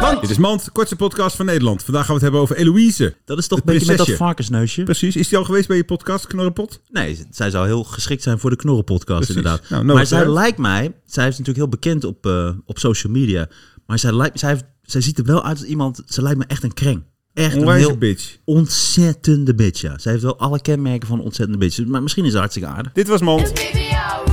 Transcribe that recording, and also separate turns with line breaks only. Mand!
Dit is Mand, kortste podcast van Nederland. Vandaag gaan we het hebben over Eloïse.
Dat is toch
Het
een beetje met dat
prinsesje.
varkensneusje?
Precies, is die al geweest bij je podcast, Knorrenpot?
Nee, zij zou heel geschikt zijn voor de Knorrenpodcast
Precies.
inderdaad.
Nou, nodig
maar zij
uit.
lijkt mij, zij is natuurlijk heel bekend op, eh, op social media. Maar zij, lijkt, zij, heeft- zij ziet er wel uit als iemand, ze lijkt me echt een kreng. Echt een
Onwijs
heel
bitch.
ontzettende bitch, ja. Zij heeft wel alle kenmerken van een ontzettende bitch. Maar misschien is ze hartstikke aardig.
Dit was Mand.
Baby, I